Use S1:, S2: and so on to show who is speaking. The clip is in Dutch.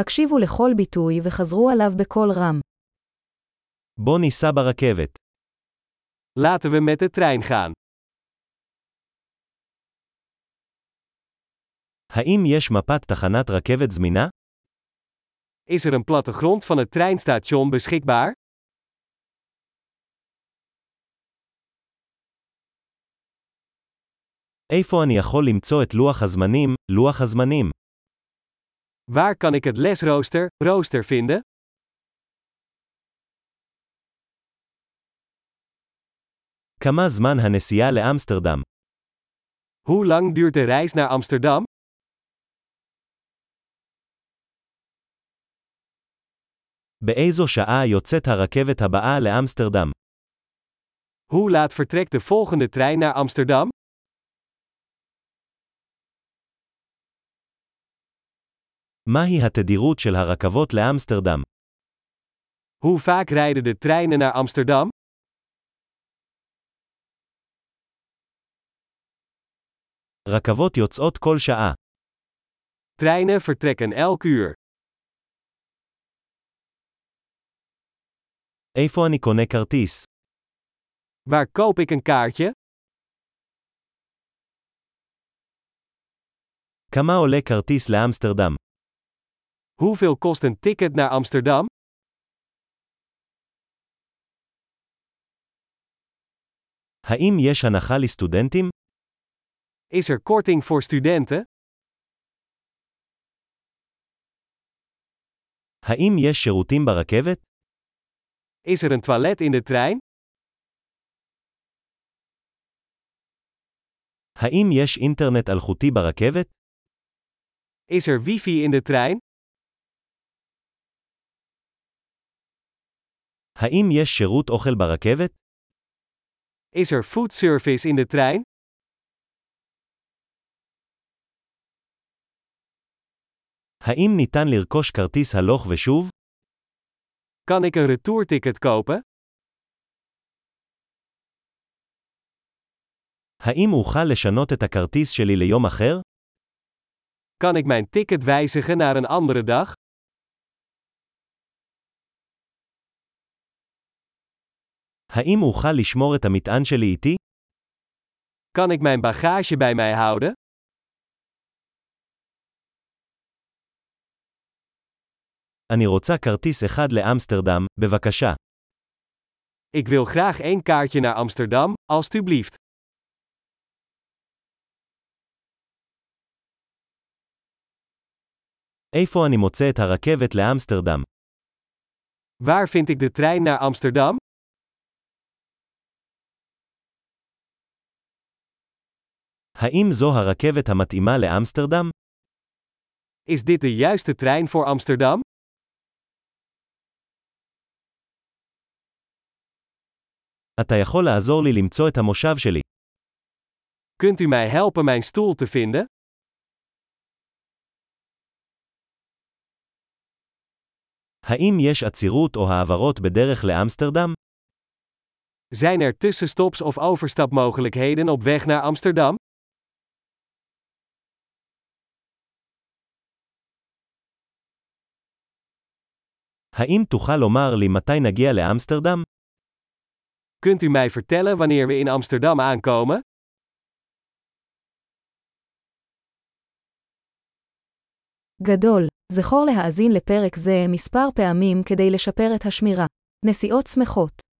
S1: הקשיבו לכל ביטוי וחזרו עליו בקול רם.
S2: בוא ניסע ברכבת.
S3: Laten we met de trein gaan.
S2: האם יש מפת תחנת רכבת זמינה?
S3: Is er een plattegrond van het treinstation beschikbaar?
S2: איפה אני יכול למצוא את לוח הזמנים, לוח הזמנים?
S3: Waar kan ik het lesrooster, rooster vinden?
S2: כמה זמן הנסיעה לאמסטרדם?
S3: Hoe lang duurt de reis naar Amsterdam?
S2: באיזו שעה יוצאת הרכבת הבאה לאמסטרדם?
S3: Hoe laat vertrekt de volgende trein naar Amsterdam?
S2: מהי התדירות של הרכבות לאמסטרדם?
S3: Hoe vaak rijden de treinen naar Amsterdam?
S2: רכבות יוצאות כל שעה.
S3: Treinen vertrekken elk uur.
S2: איפה אני קונה כרטיס?
S3: Waar koop ik een kaartje?
S2: כמה עולה כרטיס לאמסטרדם?
S3: Hoeveel kost een ticket naar Amsterdam?
S2: האם יש הנחה לסטודנטים?
S3: Is er korting voor studenten?
S2: האם יש שירותים ברכבת?
S3: Is er een toilet in de trein?
S2: האם יש אינטרנט אלחוטי ברכבת?
S3: Is er wifi in de trein?
S2: האם יש שירות אוכל ברכבת?
S3: Is er foodservice in de trein?
S2: האם ניתן לרכוש כרטיס הלוך ושוב?
S3: Kan ik een retourticket kopen?
S2: האם אוכל לשנות את הכרטיס שלי ליום אחר?
S3: Kan ik mijn ticket wijzigen naar een andere dag?
S2: האם אוכל לשמור את המטען שלי איתי?
S3: Kan ik mijn bagage bij mij houden?
S2: אני רוצה כרטיס אחד לאמסטרדם, בבקשה.
S3: Ik wil graag één kaartje naar Amsterdam, alstublieft.
S2: איפה אני מוצא את הרכבת לאמסטרדם?
S3: Waar vind ik de trein naar Amsterdam?
S2: האם זו הרכבת המתאימה לאמסטרדם?
S3: Is dit de juiste trein voor Amsterdam?
S2: אתה יכול לעזור לי למצוא את המושב שלי.
S3: Kunt u mij helpen mijn stoel te vinden?
S2: האם יש עצירות או העברות בדרך לאמסטרדם?
S3: Zijn er tussenstops of overstapmogelijkheden op weg naar Amsterdam?
S2: האם תוכל לומר לי מתי נגיע לאמסטרדם?
S3: Kunt u mij vertellen wanneer we in Amsterdam aankomen?
S1: גדול. זכור להאזין לפרק זה מספר פעמים כדי לשפר את השמירה. נסיעות שמחות.